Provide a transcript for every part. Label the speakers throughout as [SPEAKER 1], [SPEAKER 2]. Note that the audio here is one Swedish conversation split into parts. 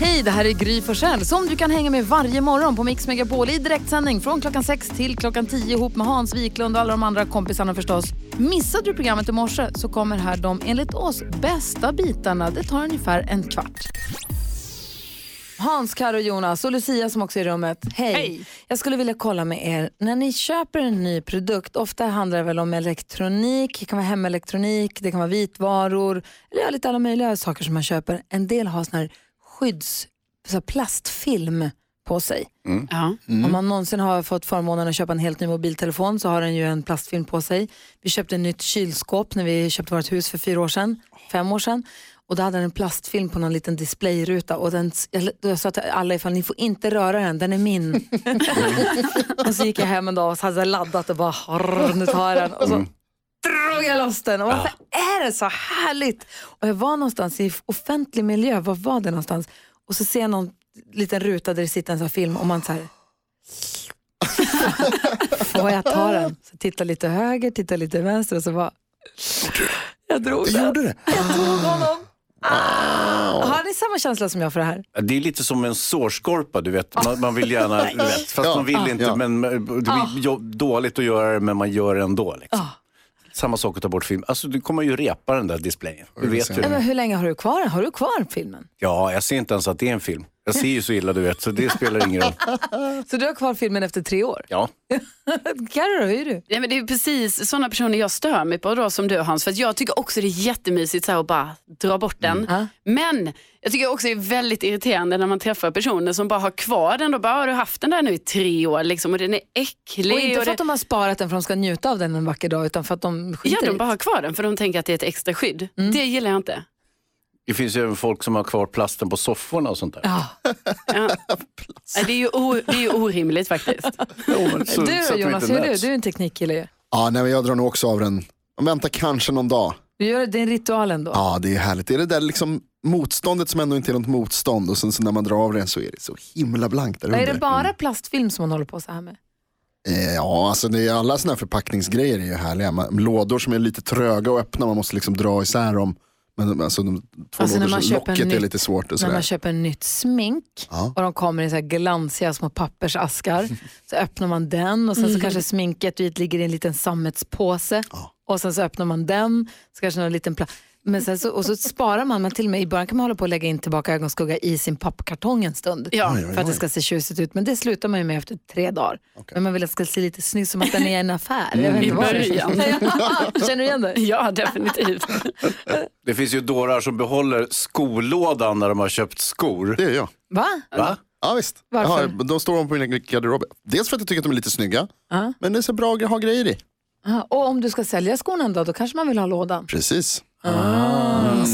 [SPEAKER 1] Hej, det här är Gry Forssell som du kan hänga med varje morgon på Mix Megapol i direktsändning från klockan 6 till klockan 10 ihop med Hans Wiklund och alla de andra kompisarna förstås. Missade du programmet i morse så kommer här de enligt oss bästa bitarna. Det tar ungefär en kvart. Hans, Karo, Jonas och Lucia som också är i rummet. Hej.
[SPEAKER 2] Hej.
[SPEAKER 1] Jag skulle vilja kolla med er, när ni köper en ny produkt, ofta handlar det väl om elektronik, det kan vara hemelektronik, det kan vara vitvaror, eller ja, lite alla möjliga saker som man köper. En del har sån här skydds, så här plastfilm på sig.
[SPEAKER 2] Ja.
[SPEAKER 1] Om man någonsin har fått förmånen att köpa en helt ny mobiltelefon så har den ju en plastfilm på sig. Vi köpte ett nytt kylskåp när vi köpte vårt hus för fyra år sedan, fem år sedan. Och då hade den en plastfilm på någon liten displayruta och den, jag, jag sa till alla ifall ni får inte röra den, den är min. och så gick jag hem en dag och så hade jag laddat och bara, "Harr, nu tar jag den. Och så drog jag loss den. Och varför är det så härligt? Och jag var någonstans i offentlig miljö, var var det någonstans? Och så ser jag någon liten ruta där det sitter en sån här film och man så här, Får jag ta den? Så titta lite höger, titta lite vänster och så bara... Jag drog
[SPEAKER 3] Du
[SPEAKER 1] den.
[SPEAKER 3] gjorde det?
[SPEAKER 1] Jag drog honom. Ah. Har ni samma känsla som jag för det här?
[SPEAKER 4] Det är lite som en sårskorpa, du vet. Man, man vill gärna, du vet, fast
[SPEAKER 3] Ja,
[SPEAKER 4] man vill inte.
[SPEAKER 3] ja.
[SPEAKER 4] Men det blir jo- dåligt att göra det, men man gör det ändå. Liksom. Samma sak att ta bort film. Alltså, du kommer ju repa den där displayen. Du vet ju
[SPEAKER 3] Mm.
[SPEAKER 1] Nej,
[SPEAKER 4] det.
[SPEAKER 1] men hur länge har du kvar den? Har du kvar filmen?
[SPEAKER 4] Ja, jag ser inte ens att det är en film. Jag ser ju så illa, du vet, så det spelar ingen roll.
[SPEAKER 1] Så du har kvar filmen efter tre år?
[SPEAKER 4] Ja.
[SPEAKER 1] Carro, då, hur är du?
[SPEAKER 2] Nej, men det är precis sådana personer jag stör mig på då, som du Hans. För att jag tycker också det är jättemysigt så här, att bara dra bort den.
[SPEAKER 1] Mm. Ja.
[SPEAKER 2] Men jag tycker också det är väldigt irriterande när man träffar personer som bara har kvar den. Då bara, "Ah, har du haft den där nu i tre år liksom, och den är äcklig.
[SPEAKER 1] Och inte
[SPEAKER 2] och
[SPEAKER 1] för
[SPEAKER 2] det...
[SPEAKER 1] att de har sparat den för att de ska njuta av den en vacker dag utan för att de
[SPEAKER 2] Ja,
[SPEAKER 1] skiter i
[SPEAKER 2] de bara har kvar den för de tänker att det är ett extra skydd.
[SPEAKER 1] Mm.
[SPEAKER 2] Det gillar jag inte.
[SPEAKER 4] Det finns ju även folk som har kvar plasten på sofforna och sånt där.
[SPEAKER 1] Ja.
[SPEAKER 2] Ja. Nej, Det, är ju o- det är ju orimligt faktiskt.
[SPEAKER 4] Jo, men så- så
[SPEAKER 1] Du
[SPEAKER 4] att
[SPEAKER 1] då
[SPEAKER 4] vi
[SPEAKER 1] Jonas,
[SPEAKER 4] inte
[SPEAKER 1] hur är du?
[SPEAKER 4] möts.
[SPEAKER 1] Du är en teknikkille ju.
[SPEAKER 3] Ja, nej, men jag drar nog också av den. Vänta kanske någon dag.
[SPEAKER 1] Du gör din ritual ändå.
[SPEAKER 3] Ja, det är härligt. Det är det där liksom motståndet som ändå inte är något motstånd och sen så när man drar av den så är det så himla blankt där
[SPEAKER 1] Är
[SPEAKER 3] under.
[SPEAKER 1] det bara
[SPEAKER 4] Mm.
[SPEAKER 1] plastfilm som man håller på så här med?
[SPEAKER 3] Eh, Ja, alltså det är alla sådana här förpackningsgrejer är ju härliga. Man- Lådor som är lite tröga att öppna, man måste liksom dra isär dem. Men alltså, de två
[SPEAKER 1] Alltså, när man
[SPEAKER 3] lådors
[SPEAKER 1] köper en
[SPEAKER 3] locket är
[SPEAKER 1] ny-
[SPEAKER 3] lite svårt och
[SPEAKER 1] När man
[SPEAKER 3] sådär.
[SPEAKER 1] köper nytt smink
[SPEAKER 3] Ja.
[SPEAKER 1] och de kommer i så här glansiga små pappersaskar så öppnar man den och sen så kanske sminket dit ligger i en liten sammetspåse och sen så öppnar man den så kanske någon liten pla- men sen så, och så sparar man, man till och med i början kan man hålla på att lägga in tillbaka ögonskugga i sin pappkartong en stund
[SPEAKER 2] Ja. Oj,
[SPEAKER 1] för att det ska se tjusigt ut. Men det slutar man ju med efter tre dagar. Men man vill att det ska se lite snyggt som att den är en affär. Jag vet
[SPEAKER 2] Mm. I
[SPEAKER 1] inte vad det är.
[SPEAKER 2] början.
[SPEAKER 1] Känner du igen det?
[SPEAKER 2] Ja, definitivt.
[SPEAKER 4] Det finns ju dårar som behåller skolådan när de har köpt skor.
[SPEAKER 3] Det är jag.
[SPEAKER 1] Va?
[SPEAKER 4] Va?
[SPEAKER 3] Ja visst.
[SPEAKER 1] Varför?
[SPEAKER 3] Ja, de står om på min garderob. Dels för att jag tycker att de är lite snygga,
[SPEAKER 1] Ja.
[SPEAKER 3] men det är så bra att ha grejer i.
[SPEAKER 1] Ja, Och om du ska sälja skorna en dag, då kanske man vill ha lådan.
[SPEAKER 3] Precis.
[SPEAKER 2] Mm.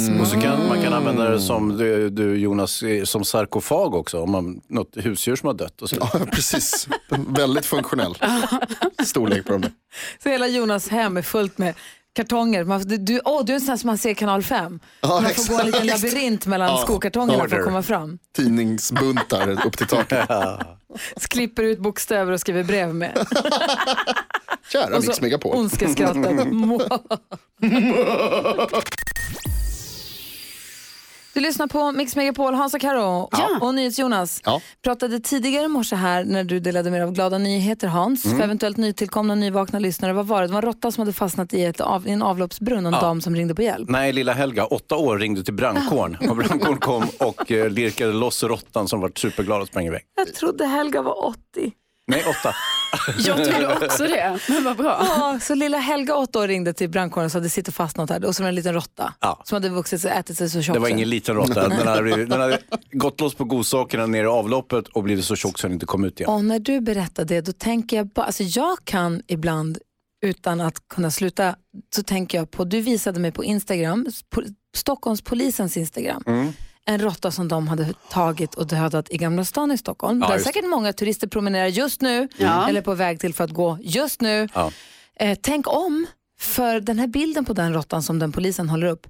[SPEAKER 1] Mm.
[SPEAKER 4] Och så kan, man kan använda det som du, du Jonas, eh, som sarkofag också. Om man, något husdjur som har dött och så.
[SPEAKER 3] Ja, precis. Väldigt funktionell storlek på dem där.
[SPEAKER 1] Så hela Jonas hem är fullt med kartonger. Man, du, du, åh, du är en sån här som man ser i kanal 5. man får gå en liten
[SPEAKER 3] exakt.
[SPEAKER 1] labyrint mellan skokartongerna för att
[SPEAKER 4] order.
[SPEAKER 1] komma fram.
[SPEAKER 3] Tidningsbuntar upp till taket.
[SPEAKER 1] Så Klipper ut bokstäver och skriver brev med.
[SPEAKER 3] Kära
[SPEAKER 1] Och så
[SPEAKER 3] Mix Megapol.
[SPEAKER 1] Ondskeskrattet. Du lyssnar på Mix Megapol, Hans och Karo
[SPEAKER 2] Ja.
[SPEAKER 1] och NyhetsJonas.
[SPEAKER 3] Ja.
[SPEAKER 1] pratade tidigare i morse här när du delade med dig av glada nyheter Hans,
[SPEAKER 3] Mm.
[SPEAKER 1] för eventuellt nytillkomna nyvakna lyssnare. Vad var det? Det var en råtta som hade fastnat i, ett av, i en avloppsbrunn och en dam som ringde på hjälp.
[SPEAKER 4] Nej, lilla Helga, åtta år, ringde till brandkåren. Och brandkåren kom och eh, lirkade loss råttan som var superglad och sprang iväg.
[SPEAKER 1] Jag trodde Helga var 80.
[SPEAKER 4] Nej, åtta.
[SPEAKER 2] Jag trodde också det, men vad bra.
[SPEAKER 1] Ja, så lilla Helga, 8 år, ringde till brandkåren och sa att det sitter fast något här. Och så var det en liten råtta
[SPEAKER 4] Ja.
[SPEAKER 1] som hade vuxit sig, ätit sig så tjock.
[SPEAKER 4] Det var
[SPEAKER 1] så.
[SPEAKER 4] ingen liten råtta. Den hade, blivit- den hade gått loss på godsakerna nere i avloppet och blivit så tjock så den inte kom ut igen.
[SPEAKER 1] Och när du berättar det, då tänker jag bara, alltså jag kan ibland utan att kunna sluta, så tänker jag på, du visade mig på Instagram, på Stockholmspolisens Instagram,
[SPEAKER 4] Mm.
[SPEAKER 1] en råtta som de hade tagit och dödat i Gamla stan i Stockholm.
[SPEAKER 4] Ja,
[SPEAKER 1] där
[SPEAKER 4] just det.
[SPEAKER 1] säkert många turister promenerar just nu,
[SPEAKER 2] Ja.
[SPEAKER 1] eller på väg till för att gå just nu.
[SPEAKER 4] Ja.
[SPEAKER 1] Eh, tänk om, för den här bilden på den råttan som den polisen håller upp,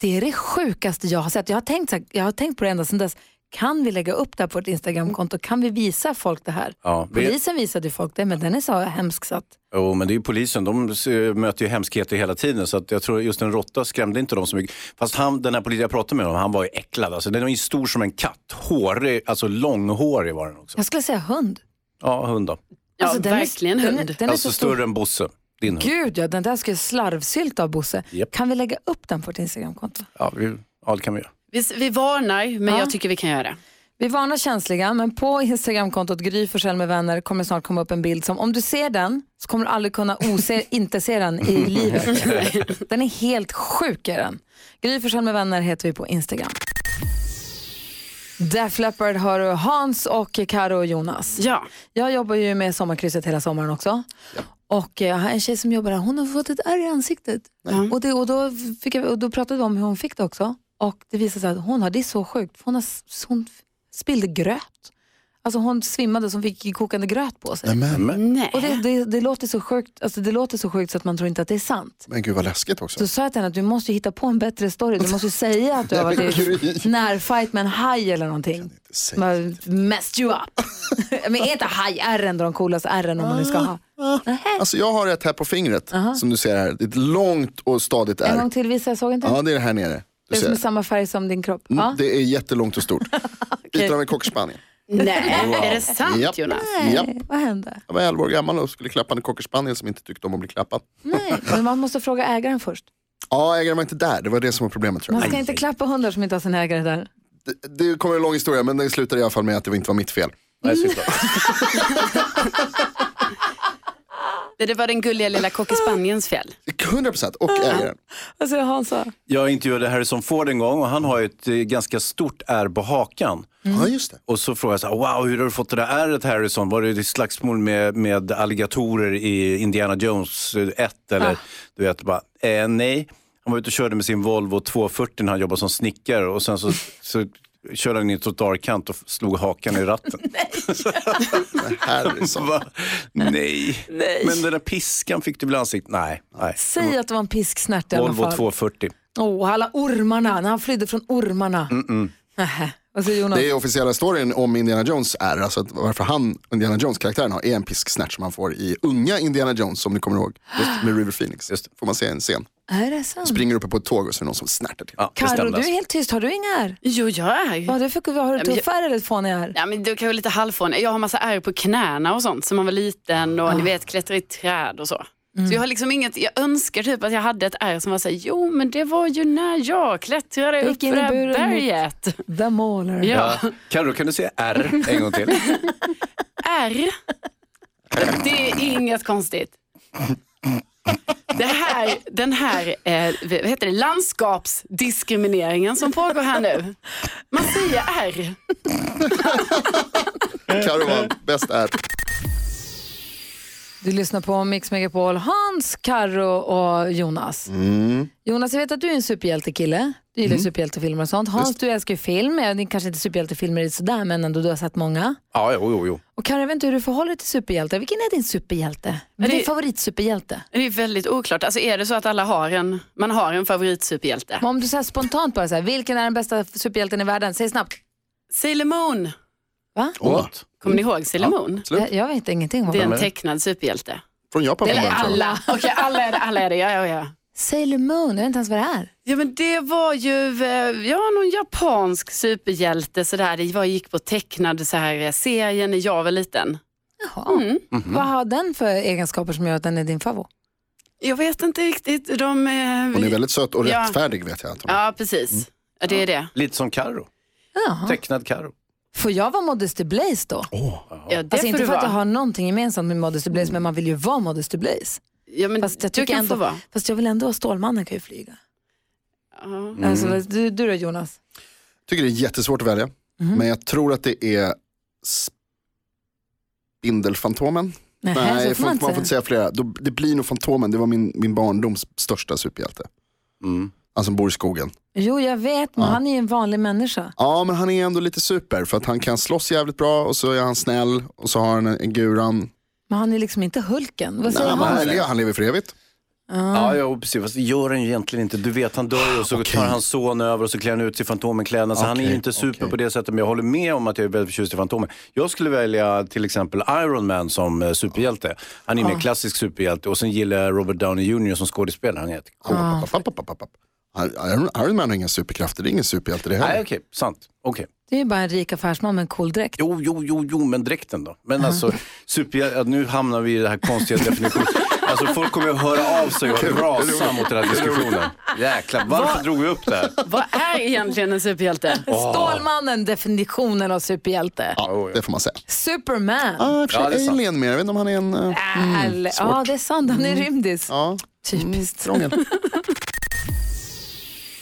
[SPEAKER 1] det är det sjukaste jag har sett. Jag har tänkt, så här, jag har tänkt på det ända sedan dess. Kan vi lägga upp det här på vårt Instagramkonto? Kan vi visa folk det här?
[SPEAKER 4] Ja, vi,
[SPEAKER 1] Polisen visade ju folk det, men den är så hemsk så att...
[SPEAKER 4] jo, men det är ju polisen. De se- möter ju hemskheter hela tiden. Så att jag tror just en råtta skrämde inte dem så mycket. Fast han, den här polisen jag pratade med, honom, han var ju äcklad. Alltså, den var ju stor som en katt. Hårig, alltså långhårig var den också.
[SPEAKER 1] Jag skulle säga hund.
[SPEAKER 4] Ja, hund då.
[SPEAKER 2] Ja,
[SPEAKER 1] Alltså, den är-
[SPEAKER 2] verkligen
[SPEAKER 1] den är-
[SPEAKER 2] hund.
[SPEAKER 1] Den är
[SPEAKER 4] Alltså
[SPEAKER 1] så stor.
[SPEAKER 4] större än Bosse. Din hund.
[SPEAKER 1] Gud ja, den där ska ju slarvsylta av Bosse.
[SPEAKER 4] Japp.
[SPEAKER 1] Kan vi lägga upp den på vårt Instagramkonto?
[SPEAKER 4] Ja, vi, ja, det kan vi göra.
[SPEAKER 2] Vi, vi varnar, men
[SPEAKER 1] Ja.
[SPEAKER 2] jag tycker vi kan göra det.
[SPEAKER 1] Vi varnar känsliga, men på Instagramkontot Gry Forssell med vänner kommer snart komma upp en bild som om du ser den så kommer du aldrig kunna ose, inte se den i livet. Den är helt sjuk är den. Gry Forssell med vänner heter vi på Instagram. Def Leppard har du Hans och Karo och Jonas.
[SPEAKER 2] Ja.
[SPEAKER 1] Jag jobbar ju med sommarkrysset hela sommaren också. Och eh, jag har en tjej som jobbar här, hon har fått ett ärr i ansiktet. Och, det, och, då fick jag, och då pratade vi om hur hon fick det också. Och det visade sig att hon har, det är så sjukt, för hon, har, s- hon f- spillde gröt. Alltså hon svimmade så hon fick kokande gröt på sig.
[SPEAKER 3] Men,
[SPEAKER 4] Men,
[SPEAKER 2] Nej.
[SPEAKER 1] Och det, det, det, låter så sjukt, alltså det låter så sjukt så att man tror inte att det är sant.
[SPEAKER 3] men gud vad läskigt också.
[SPEAKER 1] Så sa jag till henne att du måste ju hitta på en bättre story. Du måste ju säga att du har varit i närfight med en haj eller någonting.
[SPEAKER 3] Säg.
[SPEAKER 1] Man messed you up. Men är inte haj är ändå de coolaste ärren om man nu ska ha?
[SPEAKER 3] Alltså jag har ett här på fingret som du ser här. Det är ett långt och stadigt
[SPEAKER 1] En
[SPEAKER 3] ärr.
[SPEAKER 1] gång till visa, jag såg inte.
[SPEAKER 3] Ja, det är det här nere.
[SPEAKER 1] det
[SPEAKER 3] Du
[SPEAKER 1] är som
[SPEAKER 3] ser.
[SPEAKER 1] är samma färg som din kropp.
[SPEAKER 3] Mm,
[SPEAKER 1] Ja.
[SPEAKER 3] Det är jättelångt och stort. Lite av en cockerspaniel.
[SPEAKER 2] Nej, är det
[SPEAKER 1] Ah,
[SPEAKER 2] sant
[SPEAKER 3] Japp.
[SPEAKER 2] Jonas?
[SPEAKER 3] Japp.
[SPEAKER 1] Vad hände?
[SPEAKER 3] Jag var 11 år gammal och skulle klappa en cockerspaniel som inte tyckte om att bli klappad.
[SPEAKER 1] Nej, men man måste fråga ägaren först.
[SPEAKER 3] Ja, ägaren var inte där. Det var det som var problemet tror
[SPEAKER 1] Man
[SPEAKER 3] jag.
[SPEAKER 1] ska inte klappa hundar som inte har sin ägare där.
[SPEAKER 3] Det, det kommer en lång historia men den slutade i alla fall med att det inte var mitt fel.
[SPEAKER 4] nej, sluta.
[SPEAKER 2] Det, det var den gulliga lilla kockespaniens fel.
[SPEAKER 3] 100% och ägaren.
[SPEAKER 1] Alltså han sa,
[SPEAKER 4] jag intervjuade Harrison Ford en gång och han har ju ett eh, ganska stort ärr på hakan.
[SPEAKER 2] Mm.
[SPEAKER 3] Ja, just det.
[SPEAKER 4] Och så frågade jag så här, wow, hur har du fått det där ärret Harrison? Var det ditt slagsmål med, med alligatorer i Indiana Jones eh, 1? Eller, du vet, bara, eh, nej. Han var ute och körde med sin Volvo 240 när han jobbade som snickare och sen så, så körde han in i en trottoarkant och slog hakan i ratten.
[SPEAKER 3] Harrison.
[SPEAKER 4] Va? nej. Men den där piskan fick du väl i ansiktet? Nej. nej.
[SPEAKER 1] säg
[SPEAKER 3] Mm.
[SPEAKER 1] att det var en pisksnärt i alla
[SPEAKER 4] Volvo
[SPEAKER 1] fall.
[SPEAKER 4] 240.
[SPEAKER 1] Åh, alla ormarna, när han flydde från ormarna. Nähä. Vad säger Jonas?
[SPEAKER 3] Mm, Det är officiella storyn om Indiana Jones är, alltså att varför han, Indiana Jones-karaktären har, är en pisksnärt som han får i unga Indiana Jones, om ni kommer ihåg, med River Phoenix.
[SPEAKER 4] Just det.
[SPEAKER 3] Får man se en scen.
[SPEAKER 1] Är det sant?
[SPEAKER 3] Springer uppe på ett tåg och så är det någon som snärtar till.
[SPEAKER 4] Ja, det
[SPEAKER 1] Carro,
[SPEAKER 4] stämde
[SPEAKER 1] du är
[SPEAKER 4] alltså.
[SPEAKER 1] helt tyst. Har du inga ärr?
[SPEAKER 2] Jo, jag är
[SPEAKER 1] Vad har du för vad har du
[SPEAKER 2] men
[SPEAKER 1] tuffare eller ett fåniga ärr?
[SPEAKER 2] Ja, men du kan vara lite halvfån. Jag har massa ärr på knäna och sånt som man var liten och
[SPEAKER 1] Ah.
[SPEAKER 2] ni vet klättra i träd och så.
[SPEAKER 1] Mm.
[SPEAKER 2] Så jag har liksom inget, jag önskar typ att jag hade ett ärr som var såhär, jo men det var ju när jag klättrade
[SPEAKER 1] Jag
[SPEAKER 2] upp
[SPEAKER 1] gick in
[SPEAKER 2] för det
[SPEAKER 1] i
[SPEAKER 2] här
[SPEAKER 1] buren mot-
[SPEAKER 2] berget.
[SPEAKER 1] The Mauler.
[SPEAKER 2] Ja,
[SPEAKER 4] Ja. Carro, kan du säga R en gång till?
[SPEAKER 2] ärr. Det är inget konstigt. Det här, den här eh, vad heter det, landskapsdiskrimineringen som pågår här nu. Man säger ärr.
[SPEAKER 3] Carro var bäst är.
[SPEAKER 1] Du lyssnar på Mix Megapol, Hans, Karro och Jonas.
[SPEAKER 3] Mm.
[SPEAKER 2] Mm.
[SPEAKER 1] Jonas, jag vet att du är en superhjältekille. Du gillar superhjältefilmer och sånt. Hans, du älskar ju film. Ja, det är kanske inte superhjältefilmer är sådär, men ändå du har sett många.
[SPEAKER 4] Ja, jo, jo, jo.
[SPEAKER 1] Och Karro, jag vet inte hur du förhåller dig till superhjältar. Vilken är din superhjälte? Vad är
[SPEAKER 2] Det-
[SPEAKER 1] din favoritsuperhjälte?
[SPEAKER 2] Det är väldigt oklart. Alltså är det så att alla har en, man har en favoritsuperhjälte?
[SPEAKER 1] Men Om du säger spontant bara så här, vilken är den bästa superhjälten i världen? Säg snabbt.
[SPEAKER 2] Sailor Moon.
[SPEAKER 1] Va?
[SPEAKER 3] What?
[SPEAKER 2] Kommer ni ihåg Sailor Moon?
[SPEAKER 3] Slut.
[SPEAKER 1] Jag, jag vet ingenting om
[SPEAKER 2] Det är
[SPEAKER 1] det.
[SPEAKER 2] en tecknad superhjälte.
[SPEAKER 3] Från Japan
[SPEAKER 2] Eller
[SPEAKER 3] från början, tror jag.
[SPEAKER 2] alla. Okej, alla är det. Alla är det. Ja, ja, ja.
[SPEAKER 1] Sailor Moon, jag vet inte ens vad det är.
[SPEAKER 2] Ja men det var ju eh, ja, någon japansk superhjälte sådär. Det var, gick på tecknad så här, eh, serien när jag var liten.
[SPEAKER 1] Jaha. Mm.
[SPEAKER 2] Mhm.
[SPEAKER 1] Vad har den för egenskaper som gör att den är din favorit?
[SPEAKER 2] Jag vet inte riktigt. De, eh,
[SPEAKER 3] Hon är väldigt söt och
[SPEAKER 2] Ja.
[SPEAKER 3] rättfärdig vet jag att hon är.
[SPEAKER 2] Ja precis. Ja, det är det.
[SPEAKER 4] Lite som Carro.
[SPEAKER 1] Jaha.
[SPEAKER 4] Tecknad Carro.
[SPEAKER 1] Får jag vara Modesty Blaze då?
[SPEAKER 2] Ja, det
[SPEAKER 1] Alltså
[SPEAKER 2] får
[SPEAKER 1] inte
[SPEAKER 2] du
[SPEAKER 1] för att jag
[SPEAKER 2] vara.
[SPEAKER 1] har någonting gemensamt med Modesty Blaze, men man vill ju vara Modesty Blaze.
[SPEAKER 2] Ja, men
[SPEAKER 1] Fast jag
[SPEAKER 2] du
[SPEAKER 1] tycker
[SPEAKER 2] kan
[SPEAKER 1] ändå,
[SPEAKER 2] få vara.
[SPEAKER 1] fast jag vill ändå ha Stålmannen kan ju flyga.
[SPEAKER 2] Ja.
[SPEAKER 1] Alltså, du, du då Jonas?
[SPEAKER 3] tycker det är jättesvårt att välja.
[SPEAKER 2] Mm.
[SPEAKER 3] Men jag tror att det är Spindelfantomen.
[SPEAKER 1] Nej,
[SPEAKER 3] Nej,
[SPEAKER 1] så får man,
[SPEAKER 3] man, får inte säga flera. Då, det blir nog Fantomen, det var min, min barndoms största superhjälte.
[SPEAKER 4] Mm.
[SPEAKER 3] Han som bor i skogen.
[SPEAKER 1] Jo, jag vet, men
[SPEAKER 3] Ja.
[SPEAKER 1] han är ju en vanlig människa.
[SPEAKER 3] Ja, men han är ändå lite super för att han kan slåss jävligt bra och så är han snäll och så har han en, en guran.
[SPEAKER 1] Men han är liksom inte Hulken. Vad
[SPEAKER 3] Nej,
[SPEAKER 1] säger
[SPEAKER 3] han,
[SPEAKER 1] han?
[SPEAKER 3] han lever för evigt.
[SPEAKER 4] Ja, ja, precis. Fast det gör han ju egentligen inte. Du vet, han dör ju och så tar hans son över och så klär han ut sig i Fantomenkläderna. Så han är ju
[SPEAKER 3] Okej,
[SPEAKER 4] inte super
[SPEAKER 3] okej.
[SPEAKER 4] på det sättet. Men jag håller med om att jag är väldigt förtjust i Fantomen. Jag skulle välja till exempel Iron Man som eh, superhjälte. Han är ju mer klassisk superhjälte. Och sen gillar jag Robert Downey Jr som skådespelare. Han är ett cool.
[SPEAKER 3] Papp, papp, papp, papp, papp. Iron- Iron Man har inga superkrafter, det är ingen superhjälte det
[SPEAKER 4] Nej,
[SPEAKER 3] heller.
[SPEAKER 4] okej. Sant. Okej.
[SPEAKER 1] Det är ju bara en rik affärsman med en cool dräkt.
[SPEAKER 4] Jo, jo, jo, jo, men dräkten då? Men alltså, superhjälte, nu hamnar vi i den här konstiga definitionen. Alltså folk kommer att höra av sig och rasa mot den här diskussionen. Jäklar, varför drog vi upp det här?
[SPEAKER 2] Vad är egentligen en superhjälte?
[SPEAKER 1] Stålmannen, definitionen av superhjälte.
[SPEAKER 3] Ja, det får man säga.
[SPEAKER 1] Superman.
[SPEAKER 3] Ah, i och för sig
[SPEAKER 4] Ja, det är sant.
[SPEAKER 3] Alien mer, jag vet inte om han är en... eh,
[SPEAKER 1] Ah. Ärlig. ja, det är sant. Han är rymdis.
[SPEAKER 3] Ja,
[SPEAKER 1] Typiskt.
[SPEAKER 3] krångel.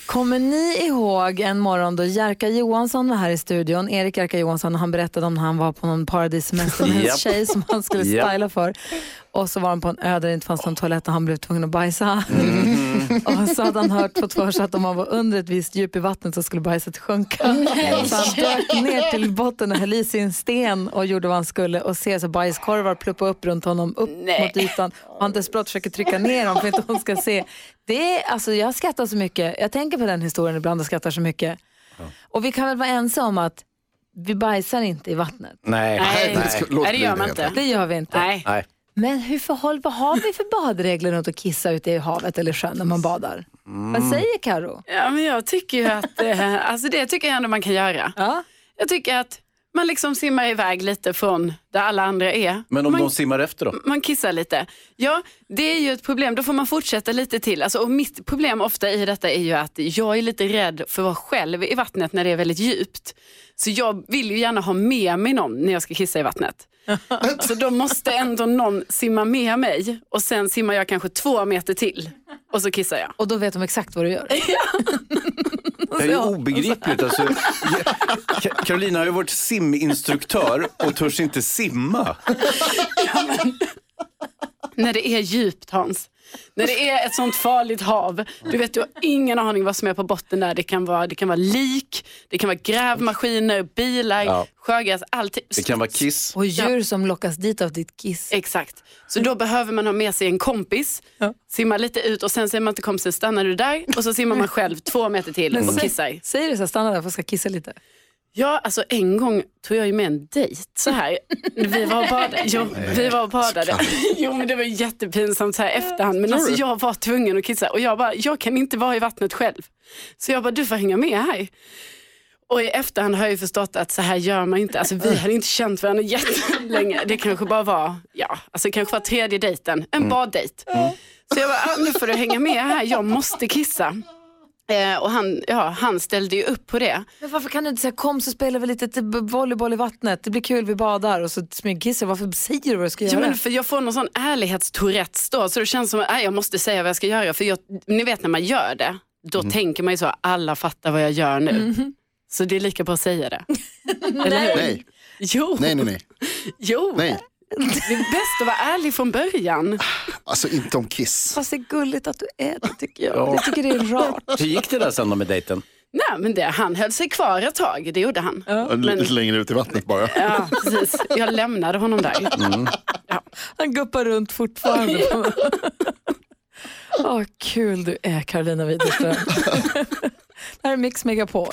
[SPEAKER 1] Kommer ni ihåg en morgon då Jerka Johansson var här i studion, Erik Jerka Johansson, och han berättade om när han var på någon paradissemester med en
[SPEAKER 4] Japp.
[SPEAKER 1] tjej som han skulle
[SPEAKER 4] Japp.
[SPEAKER 1] styla för. Och så var han på en ö där det inte fanns någon toalett och han blev tvungen att bajsa. och så hade han hört fått för sig att om man var under ett visst djup i vattnet så skulle bajset sjunka. Så han dök ner till botten och höll i sin sten och gjorde vad han skulle och ser så bajskorvar ploppa upp runt honom, upp mot ytan. Och han desperat försöker trycka ner dem för att inte hon ska se. Det är, alltså, jag skrattar så mycket. Jag tänker på den historien ibland och skrattar så mycket. Och vi kan väl vara ense om att vi bajsar inte i vattnet.
[SPEAKER 4] Nej.
[SPEAKER 2] Nej,
[SPEAKER 3] det ska- låt
[SPEAKER 2] nej, det
[SPEAKER 3] bli
[SPEAKER 2] gör
[SPEAKER 3] det
[SPEAKER 2] man
[SPEAKER 3] helt
[SPEAKER 2] inte.
[SPEAKER 1] Det gör vi inte.
[SPEAKER 2] Nej.
[SPEAKER 4] Nej.
[SPEAKER 1] Men hur förhåll, vad har vi för badregler runt att kissa ute i havet eller sjön när
[SPEAKER 2] Mm.
[SPEAKER 1] man badar? Vad säger Karo?
[SPEAKER 2] Ja, men jag tycker ju att, eh, alltså det tycker jag ändå man kan göra.
[SPEAKER 1] Ja.
[SPEAKER 2] Jag tycker att man liksom simmar iväg lite från där alla andra är.
[SPEAKER 4] Men om
[SPEAKER 2] man, Mm,
[SPEAKER 4] de simmar efter då?
[SPEAKER 2] man kissar lite. Ja, det är ju ett problem. Då får man fortsätta lite till. Alltså, och mitt problem ofta i detta är ju att jag är lite rädd för att vara själv i vattnet när det är väldigt djupt. Så jag vill ju gärna ha med mig någon när jag ska kissa i vattnet. Så då måste ändå någon simma med mig och sen simmar jag kanske två meter till och så kissar jag.
[SPEAKER 1] Och då vet de exakt vad du gör.
[SPEAKER 4] Det är ju obegripligt. Alltså, Ka- Carolina har ju varit siminstruktör och törs inte simma.
[SPEAKER 2] När det är djupt Hans. När det är ett sånt farligt hav. Du vet, du har ingen aning vad som är på botten där. Det kan vara, det kan vara lik, det kan vara grävmaskiner, bilar,
[SPEAKER 4] Ja.
[SPEAKER 2] sjögräs, allt.
[SPEAKER 4] Det kan vara kiss.
[SPEAKER 1] Och djur som lockas dit av ditt kiss.
[SPEAKER 2] Exakt. Så då behöver man ha med sig en kompis, simma lite ut och sen säger man till kompisen, stannar du där? Och så simmar man själv två meter till och kissar.
[SPEAKER 1] Säger du så här, stanna där för jag ska kissa lite.
[SPEAKER 2] Ja, alltså en gång tog jag ju med en dejt så här. Vi var och badade. Jo, vi var och badade. Jo, men det var jättepinsamt så här efterhand. Men alltså jag var tvungen att kissa och jag bara, jag kan inte vara i vattnet själv. Så jag bara, du får hänga med här. Och i efterhand har jag ju förstått att så här gör man inte. Alltså vi hade inte känt varandra jättelänge. Det kanske bara var, ja, alltså det kanske var tredje dejten, en baddejt. Så jag bara, ah, nu får du hänga med här, jag måste kissa. Eh, och han, ja, han ställde ju upp på det.
[SPEAKER 1] Men varför kan du inte säga kom så spelar vi lite till b- volleyboll i vattnet, det blir kul, vi badar och så smygkissar Varför säger du vad du ska göra?
[SPEAKER 2] Ja, men för jag får någon sån ärlighetstourettes då, så det känns som att nej, jag måste säga vad jag ska göra. För jag, ni vet när man gör det, då tänker man ju så, alla fattar vad jag gör nu. Så det är lika bra att säga det. Eller hur?
[SPEAKER 3] Nej,
[SPEAKER 2] Jo,
[SPEAKER 3] nej, nej, nej.
[SPEAKER 2] jo.
[SPEAKER 3] nej.
[SPEAKER 2] det är bäst att vara ärlig från början.
[SPEAKER 3] Alltså inte om Kiss.
[SPEAKER 1] Fast det är gulligt att du är det tycker jag. Jag tycker det är rart.
[SPEAKER 4] Hur gick det där sen då med dejten?
[SPEAKER 2] Nej, men det, han höll sig kvar ett tag, det gjorde han. Ja,
[SPEAKER 3] Lite längre ut i vattnet bara.
[SPEAKER 2] precis. Jag lämnade honom där. Ja.
[SPEAKER 1] Han guppar runt fortfarande. Åh, kul du är Karolina Widerström. det här är Mix Megapol.